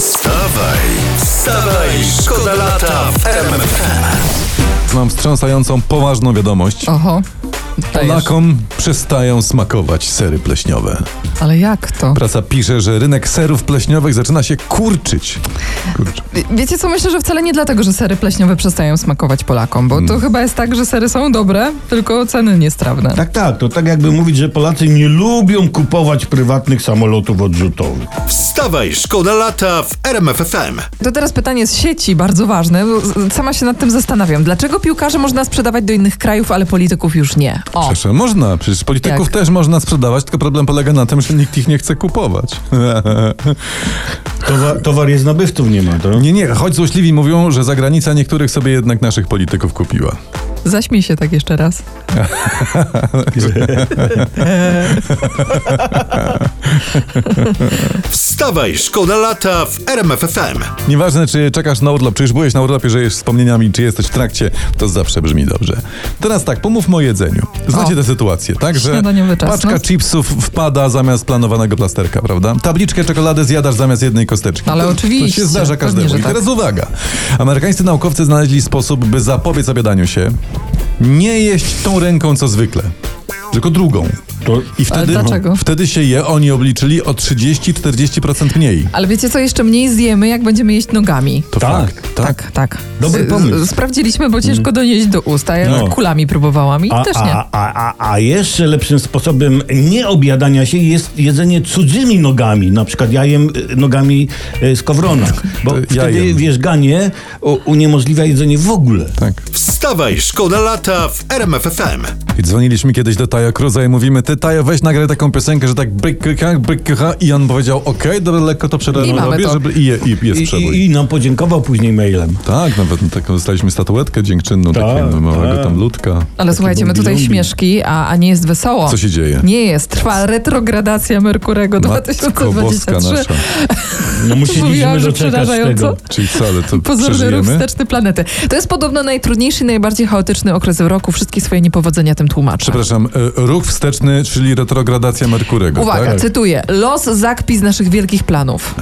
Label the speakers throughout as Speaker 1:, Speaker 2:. Speaker 1: Wstawaj, wstawaj, szkoda lata w RMFFM.
Speaker 2: Mam wstrząsającą, poważną wiadomość.
Speaker 3: Oho. Dajesz.
Speaker 2: Polakom przestają smakować sery pleśniowe.
Speaker 3: Ale jak to?
Speaker 2: Praca pisze, że rynek serów pleśniowych zaczyna się kurczyć. Kurczę.
Speaker 3: Wie- Wiecie co, myślę, że wcale nie dlatego, że sery pleśniowe przestają smakować Polakom, bo
Speaker 4: Mm.
Speaker 3: to chyba jest tak, że sery są dobre, tylko ceny niestrawne.
Speaker 4: Tak, tak, to tak jakby mówić, że Polacy nie lubią kupować prywatnych samolotów odrzutowych.
Speaker 1: Wstawaj, szkoda lata w RMFFM.
Speaker 3: To teraz pytanie z sieci, bardzo ważne. bo z- Sama się nad tym zastanawiam. Dlaczego piłkarze można sprzedawać do innych krajów, ale polityków już nie? O,
Speaker 2: Przepraszam, można, przecież polityków
Speaker 3: Jak?
Speaker 2: też można sprzedawać, tylko problem polega na tym, że nikt ich nie chce kupować.
Speaker 4: Towa- towar jest nabywców nie ma, to?
Speaker 2: nie, nie, choć złośliwi mówią, że zagranica niektórych sobie jednak naszych polityków kupiła.
Speaker 3: zaśmij się tak jeszcze raz.
Speaker 1: Wstawaj, szkoda lata w RMFFM.
Speaker 2: Nieważne, czy czekasz na urlop, czy już byłeś na urlopie, żyjesz wspomnieniami, czy jesteś w trakcie, to zawsze brzmi dobrze. Teraz tak, pomówmy o jedzeniu. Znacie
Speaker 3: O.
Speaker 2: tę sytuację, tak? Że
Speaker 3: Śniadaniowy czas,
Speaker 2: paczka
Speaker 3: no.
Speaker 2: chipsów wpada zamiast planowanego plasterka, prawda? Tabliczkę czekolady zjadasz zamiast jednej kosteczki.
Speaker 3: Ale
Speaker 2: to, To
Speaker 3: oczywiście,
Speaker 2: się zdarza
Speaker 3: pewnie,
Speaker 2: każdemu.
Speaker 3: że
Speaker 2: I
Speaker 3: tak.
Speaker 2: teraz uwaga. Amerykańscy naukowcy znaleźli sposób, by zapobiec obiadaniu się. Nie jeść tą ręką, co zwykle, tylko drugą.
Speaker 4: to
Speaker 2: I wtedy,
Speaker 3: dlaczego?
Speaker 2: wtedy się je oni obliczyli o 30-40% mniej.
Speaker 3: Ale wiecie co, jeszcze mniej zjemy, jak będziemy jeść nogami.
Speaker 2: To
Speaker 4: Tak,
Speaker 2: fakt. Tak.
Speaker 3: tak.
Speaker 4: Dobry
Speaker 3: Z-
Speaker 4: pomysł. Mm.
Speaker 3: z- Sprawdziliśmy, bo ciężko donieść do usta. Ja
Speaker 4: No.
Speaker 3: kulami próbowałam i
Speaker 4: a,
Speaker 3: też nie.
Speaker 4: a, a, a, a jeszcze lepszym sposobem nieobiadania się jest jedzenie cudzymi nogami, na przykład jajem y, nogami y, z kowrona, bo
Speaker 2: Tak, To
Speaker 4: wtedy
Speaker 2: jajem.
Speaker 4: wierzganie o, uniemożliwia jedzenie w ogóle.
Speaker 2: tak.
Speaker 1: Wstawaj, szkoda lata w RMFFM.
Speaker 2: I dzwoniliśmy kiedyś do Taja Cruza i mówimy, ty Tajo, weź nagraj taką piosenkę, że tak brykkach, brykkach i on powiedział, okej, dobra, lekko to
Speaker 3: I mamy
Speaker 2: przerobię,
Speaker 3: to.
Speaker 2: żeby i, je, i jest
Speaker 4: I,
Speaker 2: przebój.
Speaker 4: i, I nam podziękował później mailem.
Speaker 2: Tak, nawet taką dostaliśmy statuetkę dziękczynną,
Speaker 4: Tak,
Speaker 2: takiego małego
Speaker 4: tak.
Speaker 2: tam ludka.
Speaker 3: Ale słuchajcie, my tutaj
Speaker 4: zombie.
Speaker 3: śmieszki, a, a nie jest wesoło.
Speaker 2: Co się dzieje?
Speaker 3: Nie jest. Trwa retrogradacja Merkurego
Speaker 2: Matko boska
Speaker 3: 2023.
Speaker 2: nasza.
Speaker 4: No
Speaker 3: Mówiłam,
Speaker 4: musieliśmy
Speaker 3: że
Speaker 4: doczekać
Speaker 3: przerażająco.
Speaker 4: tego.
Speaker 2: Czyli co, ale to
Speaker 3: Pozorny ruch
Speaker 2: przeżyjemy?
Speaker 3: wsteczny planety. To jest podobno najtrudniejszy i najbardziej chaotyczny okres w roku. Wszystkie swoje niepowodzenia tym tłumaczę.
Speaker 2: Przepraszam, e, ruch wsteczny, czyli retrogradacja Merkurego,
Speaker 3: Uwaga,
Speaker 2: tak?
Speaker 3: cytuję. Los zakpi z naszych wielkich planów.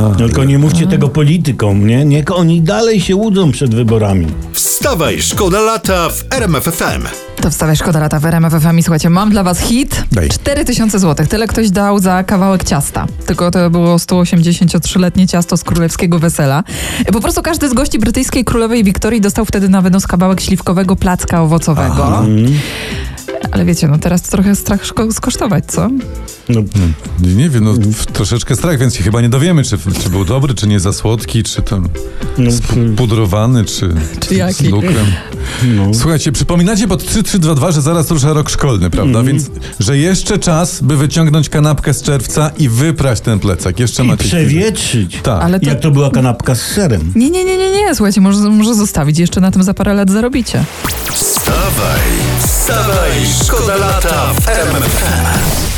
Speaker 4: No Tylko nie mówcie tego politykom, nie? Niech oni dalej się łudzą przed wyborami.
Speaker 1: Wstawaj, szkoda lata w RMFFM.
Speaker 3: To wstawia szkoda lata w RMF FM i słuchajcie, mam dla was hit.
Speaker 2: Daj.
Speaker 3: 4000 zł. Tyle ktoś dał za kawałek ciasta. Tylko to było 183-letnie ciasto z królewskiego wesela. Po prostu każdy z gości brytyjskiej królowej Wiktorii dostał wtedy na wynos kawałek śliwkowego placka owocowego. Ale wiecie, no teraz to trochę strach szko- skosztować, co?
Speaker 4: No,
Speaker 2: Nie, nie wiem, no w, troszeczkę strach, więc się chyba nie dowiemy, czy, czy był dobry, czy nie za słodki, czy tam
Speaker 4: no,
Speaker 2: pudrowany, czy,
Speaker 3: Czy
Speaker 2: z
Speaker 3: jaki?
Speaker 2: lukrem.
Speaker 4: no.
Speaker 2: Słuchajcie, przypominacie pod 3322, że zaraz rusza rok szkolny, prawda?
Speaker 4: Mhm.
Speaker 2: Więc, że jeszcze czas, by wyciągnąć kanapkę z czerwca i wyprać ten plecak. Jeszcze
Speaker 4: I
Speaker 2: macie chwilę.
Speaker 4: przewietrzyć.
Speaker 2: Tak.
Speaker 3: Ale to...
Speaker 4: Jak to była kanapka z serem.
Speaker 3: Nie, nie, nie, nie, nie, słuchajcie, może, może zostawić, jeszcze na tym za parę lat zarobicie.
Speaker 1: Wstawaj, wstawaj, szkoda lata w RMFFM.